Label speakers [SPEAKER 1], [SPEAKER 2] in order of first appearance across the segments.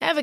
[SPEAKER 1] Ever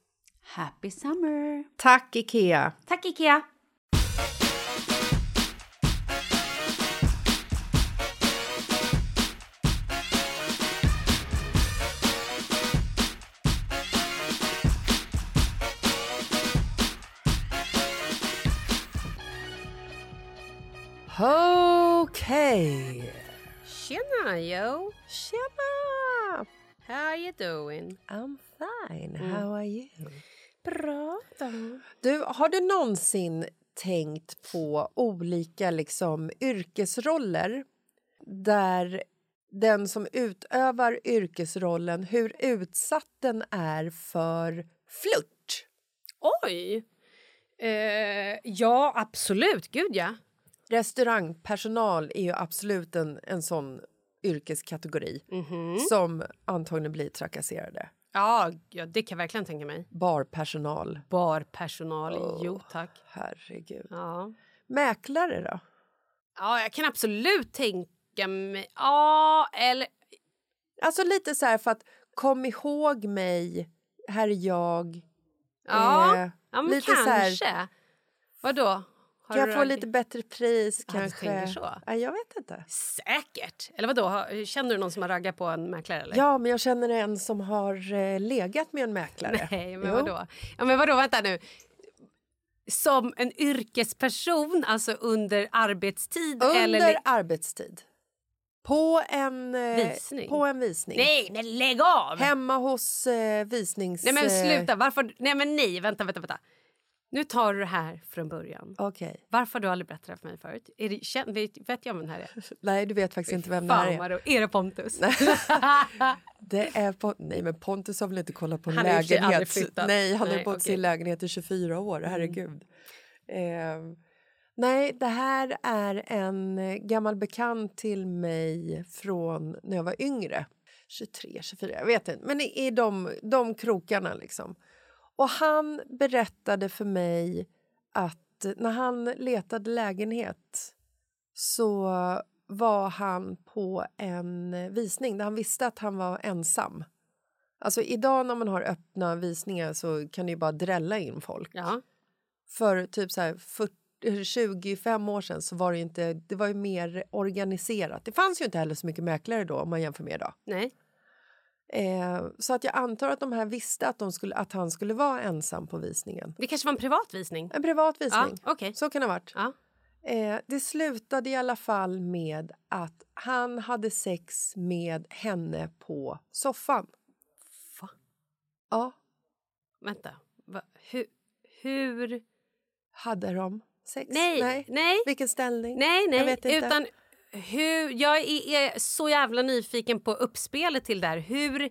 [SPEAKER 2] Happy summer!
[SPEAKER 3] Tack, Ikea!
[SPEAKER 2] Tack Ikea!
[SPEAKER 4] Okej.
[SPEAKER 5] Tjena, yo!
[SPEAKER 3] Ah.
[SPEAKER 4] Tjena!
[SPEAKER 5] How are you doing?
[SPEAKER 4] I'm fine. How are you?
[SPEAKER 5] Mm. Bra då.
[SPEAKER 4] Du, har du någonsin tänkt på olika liksom, yrkesroller där den som utövar yrkesrollen, hur utsatt den är för flört?
[SPEAKER 5] Oj! Eh, ja, absolut. Gud, ja.
[SPEAKER 4] Restaurangpersonal är ju absolut en, en sån yrkeskategori
[SPEAKER 5] Mhm.
[SPEAKER 4] som antagligen blir trakasserade.
[SPEAKER 5] ja. Ja, det kan jag verkligen tänka mig.
[SPEAKER 4] Barpersonal,
[SPEAKER 5] Barpersonal, jo tack.
[SPEAKER 4] herregud.
[SPEAKER 5] Ja.
[SPEAKER 4] Mäklare, då?
[SPEAKER 5] ja, jag kan absolut tänka mig... Ja, eller...
[SPEAKER 4] Alltså lite så här för att kom ihåg mig, här är jag.
[SPEAKER 5] Ja,
[SPEAKER 4] Eh,
[SPEAKER 5] ja men
[SPEAKER 4] lite så här-
[SPEAKER 5] kanske. Vadå? Har
[SPEAKER 4] Kan
[SPEAKER 5] du
[SPEAKER 4] jag få
[SPEAKER 5] rag-
[SPEAKER 4] lite bättre pris
[SPEAKER 5] Ja, du
[SPEAKER 4] kanske?
[SPEAKER 5] tänker så?
[SPEAKER 4] Ja, jag vet inte.
[SPEAKER 5] Säkert! Eller vadå? Har- Känner du någon som har raggat på en mäklare? Eller?
[SPEAKER 4] Ja, men jag känner en som har eh, legat med en mäklare.
[SPEAKER 5] Nej, men
[SPEAKER 4] Jo.
[SPEAKER 5] vadå? Ja, men vadå? Vänta nu. som en yrkesperson, alltså under arbetstid?
[SPEAKER 4] Under
[SPEAKER 5] eller...
[SPEAKER 4] arbetstid. På en eh,
[SPEAKER 5] Visning.
[SPEAKER 4] På en visning.
[SPEAKER 5] Nej, men lägg av!
[SPEAKER 4] Hemma hos eh, visnings...
[SPEAKER 5] Nej men
[SPEAKER 4] eh,
[SPEAKER 5] sluta, varför? Nej men nej, vänta, vänta, vänta. Nu tar du det här från början.
[SPEAKER 4] eh, Okej.
[SPEAKER 5] Varför har du aldrig berättat det här för mig förut? Är det, kän- vet, vet jag vem det här är?
[SPEAKER 4] Nej, du vet faktiskt inte vem det här
[SPEAKER 5] Fan
[SPEAKER 4] är.
[SPEAKER 5] vad det är. det Pontus?
[SPEAKER 4] Det är Pon- Nej, men Pontus har väl inte kollat på en
[SPEAKER 5] Han har i och för sig aldrig
[SPEAKER 4] lägenhet?
[SPEAKER 5] flyttat.
[SPEAKER 4] Nej, han har
[SPEAKER 5] Nej,
[SPEAKER 4] bott i
[SPEAKER 5] okej. Mm.
[SPEAKER 4] sin lägenhet i 24 år. Herregud. Ehm, nej, det här är en eh, gammal bekant till mig från när jag var yngre. 23, 24, jag vet inte. Men i, i de, de krokarna liksom. Och han berättade för mig att när han letade lägenhet så var han på en visning där han visste att han var ensam. Alltså idag när man har öppna visningar så kan det ju bara drälla in folk.
[SPEAKER 5] ja.
[SPEAKER 4] För typ så här 40, 25 år sedan så var det ju inte, det var ju mer organiserat. Det fanns ju inte heller så mycket mäklare då om man jämför med idag.
[SPEAKER 5] Nej.
[SPEAKER 4] Eh, så att jag antar att de här visste att, de skulle, att han skulle vara ensam på visningen.
[SPEAKER 5] Det kanske var en privat visning?
[SPEAKER 4] En privat
[SPEAKER 5] Ja,
[SPEAKER 4] visning.
[SPEAKER 5] okej.
[SPEAKER 4] Så kan det ha varit.
[SPEAKER 5] Ja.
[SPEAKER 4] Eh, det slutade i alla fall med att han hade sex med henne på soffan.
[SPEAKER 5] Va?
[SPEAKER 4] Ja,
[SPEAKER 5] Vänta. Va? Hur? hur?
[SPEAKER 4] hade de sex?
[SPEAKER 5] Nej, nej, nej,
[SPEAKER 4] Vilken ställning?
[SPEAKER 5] nej.
[SPEAKER 4] Jag vet inte.
[SPEAKER 5] Utan hur... Jag är, är så jävla nyfiken på uppspelet till det här. Hur...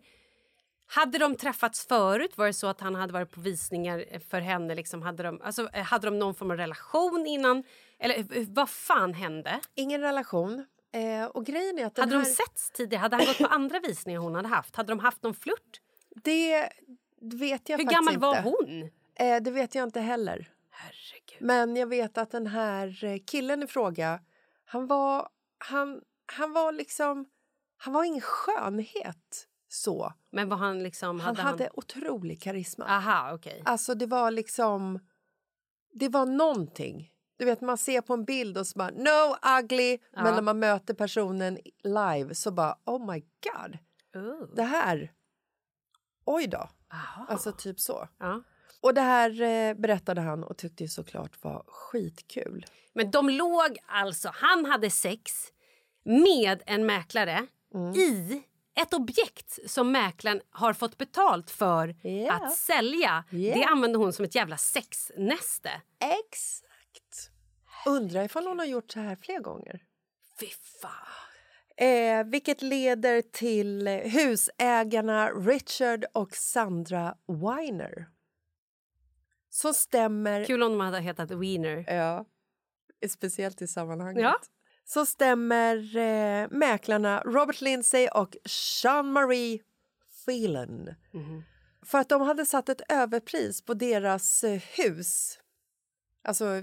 [SPEAKER 5] Hade de träffats förut? Var det så att han hade varit på visningar för henne? Liksom, hade, de, alltså, hade de någon form av relation innan? Eller eh, vad fan hände?
[SPEAKER 4] Ingen relation. Eh, och grejen är att den
[SPEAKER 5] Hade
[SPEAKER 4] här,
[SPEAKER 5] de setts tidigare? Hade han gått på andra visningar hon hade haft? Hade de haft någon flört?
[SPEAKER 4] Det vet jag
[SPEAKER 5] Hur
[SPEAKER 4] faktiskt
[SPEAKER 5] gammal
[SPEAKER 4] inte.
[SPEAKER 5] var hon?
[SPEAKER 4] Eh, det vet jag inte heller.
[SPEAKER 5] Herregud.
[SPEAKER 4] Men jag vet att den här eh, killen i fråga, han var, han, han var liksom, han var ingen skönhet så.
[SPEAKER 5] Men var han liksom...
[SPEAKER 4] Han
[SPEAKER 5] Hade
[SPEAKER 4] hade otrolig karisma.
[SPEAKER 5] Aha, okej.
[SPEAKER 4] Alltså det var liksom, det var någonting. Du vet man ser på en bild och så bara no ugly, men när man möter personen live så bara oh my god,
[SPEAKER 5] Oh.
[SPEAKER 4] det här, oj då.
[SPEAKER 5] Aha.
[SPEAKER 4] Alltså typ så.
[SPEAKER 5] Ja.
[SPEAKER 4] Och det här eh, berättade han och tyckte ju såklart var skitkul.
[SPEAKER 5] Men de låg alltså... Han hade sex med en mäklare
[SPEAKER 4] Mm.
[SPEAKER 5] i ett objekt som mäklaren har fått betalt för
[SPEAKER 4] Ja.
[SPEAKER 5] att sälja. Det använde hon som ett jävla sexnäste.
[SPEAKER 4] Exakt. Undrar ifall hon har gjort så här fler gånger.
[SPEAKER 5] Fy fan.
[SPEAKER 4] Eh, vilket leder till eh, husägarna Richard och Sandra Weiner. Som stämmer...
[SPEAKER 5] Kul om de hade hetat Wiener.
[SPEAKER 4] Ja, speciellt i sammanhanget.
[SPEAKER 5] Ja.
[SPEAKER 4] Så stämmer eh, mäklarna Robert Lindsay och Jean-Marie Phelan. För att de hade satt ett överpris på deras eh, hus. Alltså, eh,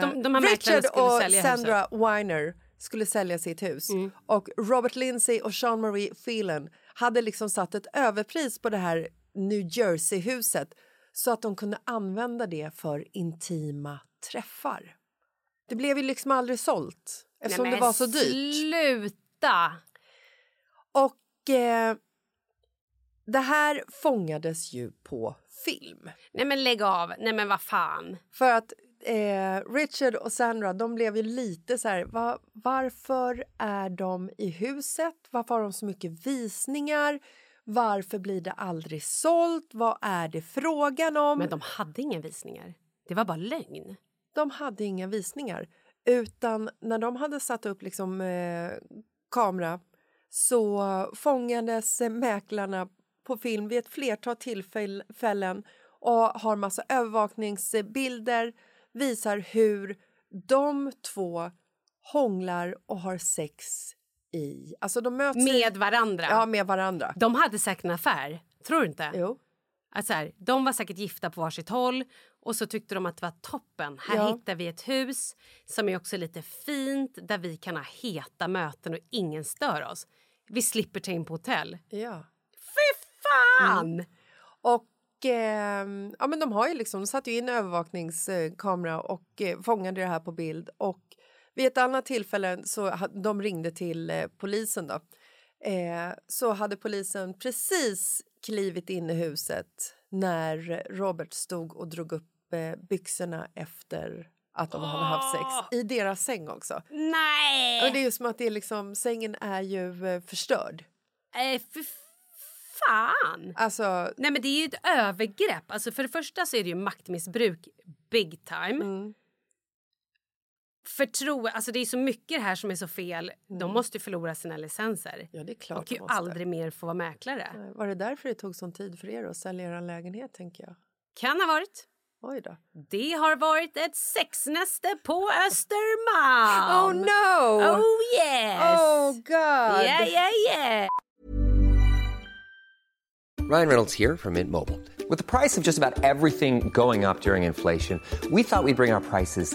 [SPEAKER 5] De- de här mäklarna
[SPEAKER 4] Richard
[SPEAKER 5] skulle
[SPEAKER 4] och
[SPEAKER 5] sälja huset. Mm.
[SPEAKER 4] Sandra Weiner skulle sälja sitt hus. Och Robert Lindsay och Jean-Marie Phelan hade liksom satt ett överpris på det här New Jersey-huset så att de kunde använda det för intima träffar. Det blev ju liksom aldrig sålt eftersom
[SPEAKER 5] Nej, men
[SPEAKER 4] det var så dyrt.
[SPEAKER 5] Sluta!
[SPEAKER 4] Och eh, det här fångades ju på film.
[SPEAKER 5] Nej men lägg av. Nej men vad fan.
[SPEAKER 4] För att eh, Richard och Sandra, de blev ju lite så här... Va, varför är de i huset? Varför har de så mycket visningar? Varför blir det aldrig sålt? Vad är det frågan om?
[SPEAKER 5] Men de hade inga visningar. Det var bara lögn.
[SPEAKER 4] de hade inga visningar. Utan när de hade satt upp liksom, eh, kamera så fångades eh, mäklarna på film vid ett flertal tillfällen och har massa övervakningsbilder, visar hur de två hånglar och har sex i... Alltså de möts i-
[SPEAKER 5] Med varandra.
[SPEAKER 4] ja, med varandra.
[SPEAKER 5] De hade säkert en affär. Tror du inte?
[SPEAKER 4] Jo.
[SPEAKER 5] Att så här, de var säkert gifta på varsitt håll och så tyckte de att det var toppen. Här
[SPEAKER 4] Ja.
[SPEAKER 5] hittar vi ett hus som är också lite fint där vi kan ha heta möten och ingen stör oss. Vi slipper ta in på hotell.
[SPEAKER 4] Ja. Mm.
[SPEAKER 5] Fy fan!
[SPEAKER 4] Och eh, ja, men de har ju liksom, de satte ju in övervakningskamera och eh, fångade det här på bild. Och vid ett annat tillfälle, så ha- de ringde till eh, polisen då, eh, så hade polisen precis klivit in i huset när Robert stod och drog upp eh, byxorna efter att de hade haft sex. I deras säng också.
[SPEAKER 5] Nej!
[SPEAKER 4] Och det är ju som att det är liksom, sängen är ju eh, förstörd.
[SPEAKER 5] Eh, för fan!
[SPEAKER 4] Alltså,
[SPEAKER 5] Nej men det är ju ett övergrepp. Alltså för det första så är det ju maktmissbruk big time.
[SPEAKER 4] Mm.
[SPEAKER 5] Förtro, alltså det är så mycket här som är så fel. De måste ju förlora sina licenser.
[SPEAKER 4] Mm. ja det är klart
[SPEAKER 5] De kan ju
[SPEAKER 4] de måste.
[SPEAKER 5] aldrig mer få vara mäklare.
[SPEAKER 4] Nej, Eh, Var det därför det tog sån tid för er att sälja er lägenhet tänker jag?
[SPEAKER 5] Kan ha varit.
[SPEAKER 4] Oj då.
[SPEAKER 5] Det har varit ett sexnäste på Östermalm!
[SPEAKER 4] no! Oh,
[SPEAKER 5] Oh yes! Oh,
[SPEAKER 4] god!
[SPEAKER 5] yeah, yeah, yeah!
[SPEAKER 6] Ryan Reynolds here from Mint Mobile. With the price of just about everything going up during inflation, we thought we'd bring our prices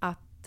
[SPEAKER 4] att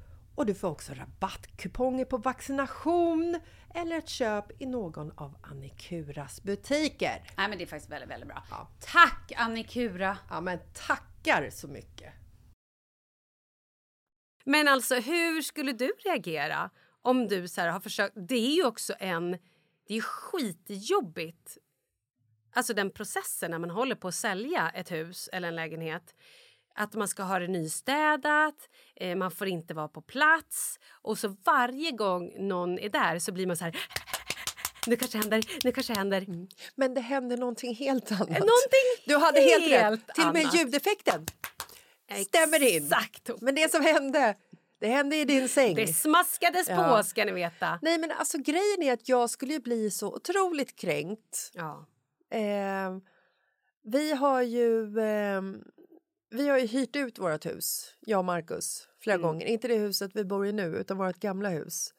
[SPEAKER 4] Och du får också rabattkuponger på vaccination eller ett köp i någon av Annikuras butiker.
[SPEAKER 2] Nej men det är faktiskt väldigt, väldigt bra. Tack Annikura!
[SPEAKER 4] Ja men tackar så mycket!
[SPEAKER 5] Men alltså, hur skulle du reagera om du så här har försökt... Det är ju också en... Det är ju skitjobbigt. Alltså den processen när man håller på att sälja ett hus eller en lägenhet. Att man ska ha det nystädat, eh, man får inte vara på plats. Och så varje gång någon är där så blir man så här... Nu kanske händer, nu kanske händer.
[SPEAKER 4] Mm. Men det hände någonting helt annat.
[SPEAKER 5] Eh, Någonting
[SPEAKER 4] du hade helt,
[SPEAKER 5] helt
[SPEAKER 4] rätt. Till och med
[SPEAKER 5] annat.
[SPEAKER 4] ljudeffekten stämmer in.
[SPEAKER 5] Exakt.
[SPEAKER 4] Men det som hände, det hände i din säng.
[SPEAKER 5] Det smaskades på
[SPEAKER 4] Ja.
[SPEAKER 5] ska ni veta.
[SPEAKER 4] Nej men alltså grejen är att jag skulle ju bli så otroligt kränkt.
[SPEAKER 5] Ja.
[SPEAKER 4] Eh, vi har ju eh, vi har ju hyrt ut vårt hus, jag och Marcus, flera
[SPEAKER 5] Mm.
[SPEAKER 4] gånger. Inte det huset vi bor i nu, utan vårt gamla hus.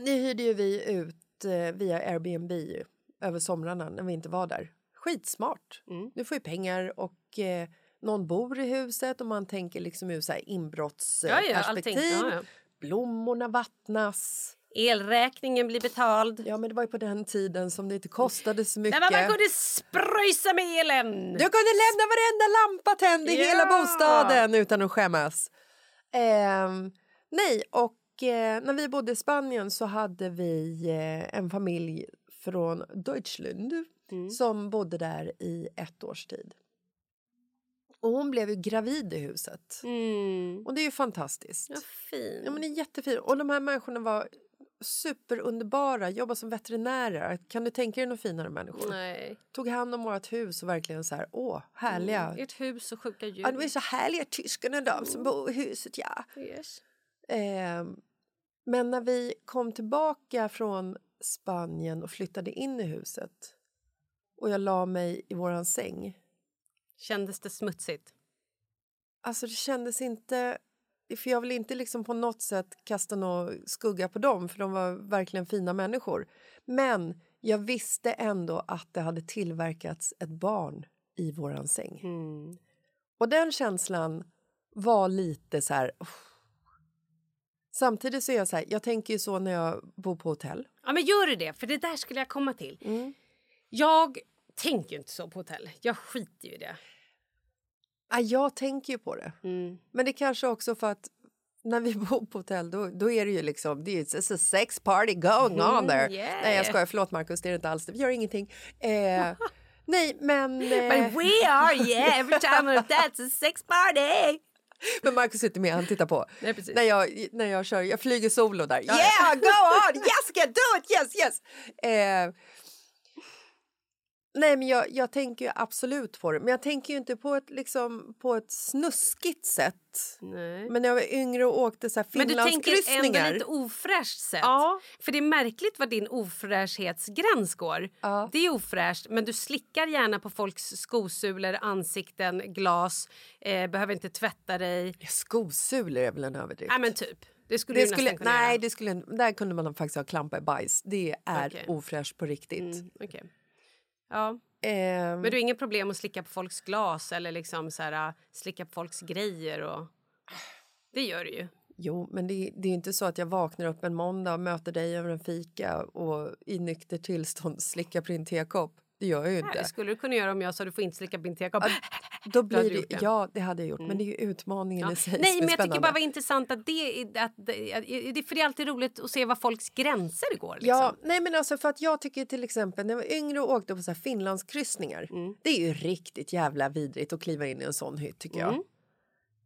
[SPEAKER 4] Nu hyrde ju vi ut eh, via Airbnb ju, över somrarna när vi inte var där. Skitsmart.
[SPEAKER 5] Mm.
[SPEAKER 4] Du får ju pengar och eh, någon bor i huset och man tänker liksom ur så här
[SPEAKER 5] Ja, ja,
[SPEAKER 4] inbrottsperspektiv.
[SPEAKER 5] allting. Ja, ja.
[SPEAKER 4] Blommorna vattnas.
[SPEAKER 5] Elräkningen blir betald.
[SPEAKER 4] Ja, men det var ju på den tiden som det inte kostade så mycket.
[SPEAKER 5] Nej, men man kunde spröjsa med elen!
[SPEAKER 4] Du kunde lämna varenda lampa tänd i
[SPEAKER 5] Ja!
[SPEAKER 4] hela bostaden utan att skämmas. Ehm, nej, och eh, när vi bodde i Spanien så hade vi eh, en familj från Deutschland
[SPEAKER 5] Mm.
[SPEAKER 4] som bodde där i ett års tid. Och hon blev ju gravid i huset.
[SPEAKER 5] Mm.
[SPEAKER 4] Och det är ju fantastiskt.
[SPEAKER 5] Vad fin.
[SPEAKER 4] Ja, men det är jättefint. Och de här människorna var superunderbara, jobbade som veterinärer. Kan du tänka dig några finare människor?
[SPEAKER 5] Nej.
[SPEAKER 4] Tog hand om vårt hus och verkligen så här, åh, härliga.
[SPEAKER 5] Mm, Ert hus och sjuka djur.
[SPEAKER 4] Ja, de är så härliga tyskarna de som bor i huset, ja.
[SPEAKER 5] Yes.
[SPEAKER 4] Ehm, men när vi kom tillbaka från Spanien och flyttade in i huset och jag la mig i våran säng.
[SPEAKER 5] Kändes det smutsigt?
[SPEAKER 4] Alltså det kändes inte... För jag vill inte liksom på något sätt kasta någon skugga på dem för de var verkligen fina människor. Men jag visste ändå att det hade tillverkats ett barn i våran säng. Och den känslan var lite så här... "Uff." Samtidigt så är jag så här, jag tänker ju så när jag bor på hotell.
[SPEAKER 5] Ja, men gör du det? För det där skulle jag komma till.
[SPEAKER 4] Mm.
[SPEAKER 5] Jag tänker ju inte så på hotell. Jag skiter ju i det.
[SPEAKER 4] Ja, Ah, jag tänker ju på det.
[SPEAKER 5] Mm.
[SPEAKER 4] Men det kanske också för att när vi bor på hotell då, då är det ju liksom det är ju it's a sex party going on there.
[SPEAKER 5] Mm, yeah.
[SPEAKER 4] Nej jag skojar, förlåt Markus det är det inte alls, vi gör ingenting. Eh, nej men, eh,
[SPEAKER 5] But we are, yeah! Every time of that's a sex party!
[SPEAKER 4] men Markus sitter med, han tittar på.
[SPEAKER 5] Nej, precis.
[SPEAKER 4] när, jag, när jag kör, jag flyger solo där. Yeah go on, Jessica do it, yes yes! Eh, nej men jag, jag tänker ju absolut på det, men jag tänker ju inte på ett, liksom, på ett snuskigt sätt.
[SPEAKER 5] Nej.
[SPEAKER 4] Men när jag var yngre och åkte så här
[SPEAKER 5] Men du tänker ändå
[SPEAKER 4] Finlandskryssningar.
[SPEAKER 5] lite ofräscht sätt.
[SPEAKER 4] Ja.
[SPEAKER 5] För det är märkligt vad din ofräschhetsgräns går. Det är ofräscht, men du slickar gärna på folks skosulor, ansikten, glas, eh, behöver inte tvätta dig.
[SPEAKER 4] Skosulor är väl en överdrift?
[SPEAKER 5] Nej, men typ. Det skulle
[SPEAKER 4] det
[SPEAKER 5] du
[SPEAKER 4] skulle,
[SPEAKER 5] nästan kunna
[SPEAKER 4] nej,
[SPEAKER 5] göra.
[SPEAKER 4] det skulle, där kunde man faktiskt ha klampa i bajs. Det är
[SPEAKER 5] Okej.
[SPEAKER 4] ofräscht på riktigt.
[SPEAKER 5] Mm, okej. Ja,
[SPEAKER 4] Ehm,
[SPEAKER 5] men du har inget problem att slicka på folks glas eller liksom så här, äh, slicka på folks grejer? Och... Det gör du ju.
[SPEAKER 4] Jo, men det, det är inte så att jag vaknar upp en måndag och möter dig över en fika och i nykter tillstånd slickar på din tekopp. Det gör jag ju
[SPEAKER 5] Nej,
[SPEAKER 4] inte.
[SPEAKER 5] det skulle du kunna göra om jag sa du får inte slicka på din tekopp.
[SPEAKER 4] Då
[SPEAKER 5] hade
[SPEAKER 4] blir
[SPEAKER 5] du gjort
[SPEAKER 4] det,
[SPEAKER 5] det.
[SPEAKER 4] ja, det hade jag gjort, men det är ju utmaningen
[SPEAKER 5] Ja.
[SPEAKER 4] i sig
[SPEAKER 5] Nej,
[SPEAKER 4] som är
[SPEAKER 5] men jag tycker
[SPEAKER 4] spännande.
[SPEAKER 5] bara var intressant att det, är- att, det- att, det- för det är alltid roligt att se var folks gränser går. Liksom.
[SPEAKER 4] Ja, nej men alltså för att jag tycker till exempel när jag var yngre och åkte på så här Finlandskryssningar.
[SPEAKER 5] Mm.
[SPEAKER 4] Det är ju riktigt jävla vidrigt att kliva in i en sån hytt tycker
[SPEAKER 5] Mm.
[SPEAKER 4] jag.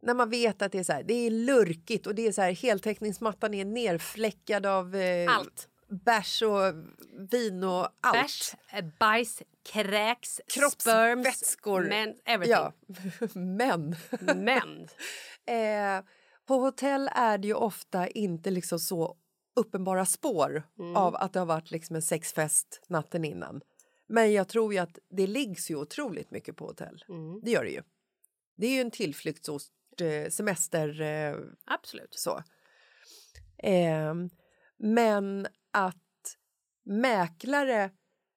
[SPEAKER 4] När man vet att det är så här, det är lurkigt och det är så här heltäckningsmattan är nerfläckad av eh,
[SPEAKER 5] Allt.
[SPEAKER 4] bärs och vin och allt.
[SPEAKER 5] Bärs, eh, bajs, kräks, sperms,
[SPEAKER 4] Kroppsvätskor.
[SPEAKER 5] men everything.
[SPEAKER 4] Ja, men.
[SPEAKER 5] Men.
[SPEAKER 4] Eh, på hotell är det ju ofta inte liksom så uppenbara spår
[SPEAKER 5] Mm.
[SPEAKER 4] av att det har varit liksom en sexfest natten innan. Men jag tror ju att det liggs ju otroligt mycket på hotell.
[SPEAKER 5] Mm.
[SPEAKER 4] Det gör det ju. Det är ju en tillflyktsort, eh, semester... Eh,
[SPEAKER 5] Absolut.
[SPEAKER 4] så. Ehm, men att mäklare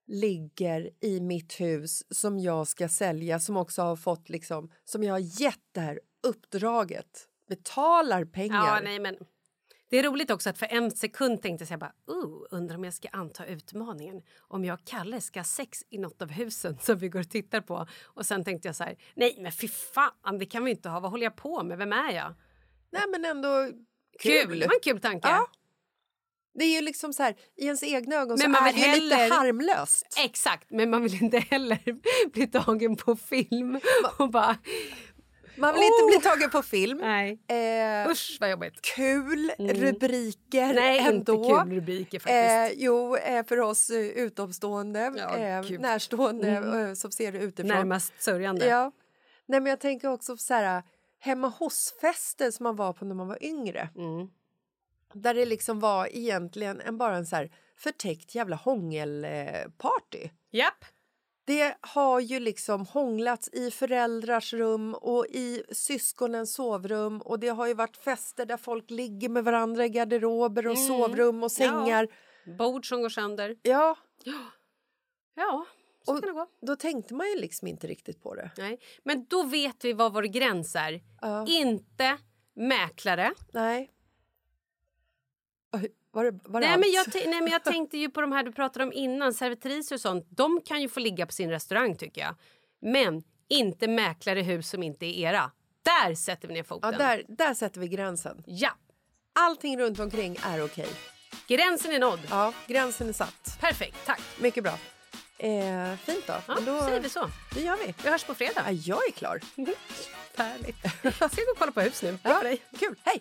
[SPEAKER 4] ligger i mitt hus som jag ska sälja som också har fått liksom som jag har gett det här uppdraget betalar pengar.
[SPEAKER 5] Ja, nej, men det är roligt också att för en sekund tänkte jag så här bara oh, undrar om jag ska anta utmaningen om jag och Kalle ska ha sex i något av husen som vi går och tittar på. Och sen tänkte jag så här nej men fy fan det kan vi inte ha vad håller jag på med vem är jag?
[SPEAKER 4] Nej, men ändå
[SPEAKER 5] Kul!
[SPEAKER 4] kul.
[SPEAKER 5] Det var en kul tanke.
[SPEAKER 4] Ja. Det är ju liksom så här, i ens egna ögon
[SPEAKER 5] Men
[SPEAKER 4] så
[SPEAKER 5] man
[SPEAKER 4] är
[SPEAKER 5] vill
[SPEAKER 4] det ju lite
[SPEAKER 5] heller-
[SPEAKER 4] harmlöst.
[SPEAKER 5] Exakt, men man vill inte heller bli tagen på film och bara
[SPEAKER 4] Man vill
[SPEAKER 5] Oh.
[SPEAKER 4] inte bli tagen på film.
[SPEAKER 5] nej
[SPEAKER 4] Eh,
[SPEAKER 5] usch vad jobbigt.
[SPEAKER 4] kul rubriker
[SPEAKER 5] Mm. Nej, inte
[SPEAKER 4] ändå.
[SPEAKER 5] kul rubriker faktiskt.
[SPEAKER 4] Eh, jo, eh, för oss eh, utomstående,
[SPEAKER 5] Ja, Mm.
[SPEAKER 4] eh,
[SPEAKER 5] gud.
[SPEAKER 4] närstående eh, som ser det utifrån.
[SPEAKER 5] Närmast sörjande.
[SPEAKER 4] Ja. Nej, men jag tänker också på så här, hemma hos-fester som man var på när man var yngre.
[SPEAKER 5] Mm.
[SPEAKER 4] Där det liksom var egentligen en, bara en så här förtäckt jävla hångelparty. Eh, party.
[SPEAKER 5] Japp.
[SPEAKER 4] Det har ju liksom hånglats i föräldrars rum och i syskonens sovrum och det har ju varit fester där folk ligger med varandra i garderober och
[SPEAKER 5] Mm.
[SPEAKER 4] sovrum och sängar.
[SPEAKER 5] Bord som går sönder.
[SPEAKER 4] Ja,
[SPEAKER 5] Ja, så
[SPEAKER 4] och
[SPEAKER 5] kan det gå.
[SPEAKER 4] då tänkte man ju liksom inte riktigt på det.
[SPEAKER 5] Nej. Men då vet vi vad vår gräns är. Inte mäklare.
[SPEAKER 4] Nej. Oj, Var det, var det
[SPEAKER 5] Nej
[SPEAKER 4] allt?
[SPEAKER 5] men, jag t- nej, men jag tänkte ju på de här du pratade om innan, servitriser och sånt. De kan ju få ligga på sin restaurang tycker jag. Men inte mäklare i hus som inte är era. Där sätter vi ner
[SPEAKER 4] Ja,
[SPEAKER 5] foten.
[SPEAKER 4] där, där sätter vi gränsen.
[SPEAKER 5] ja.
[SPEAKER 4] Allting runt omkring är okej.
[SPEAKER 5] Gränsen är nådd.
[SPEAKER 4] Ja, gränsen är satt.
[SPEAKER 5] Perfekt, tack.
[SPEAKER 4] Mycket bra. Eh, fint då.
[SPEAKER 5] Ja,
[SPEAKER 4] Men då
[SPEAKER 5] säger vi så.
[SPEAKER 4] Det gör vi.
[SPEAKER 5] Vi hörs på
[SPEAKER 4] Ja,
[SPEAKER 5] fredag.
[SPEAKER 4] jag är klar.
[SPEAKER 5] Härligt. Ska vi gå och kolla på hus nu?
[SPEAKER 4] Ja, kul. Hej!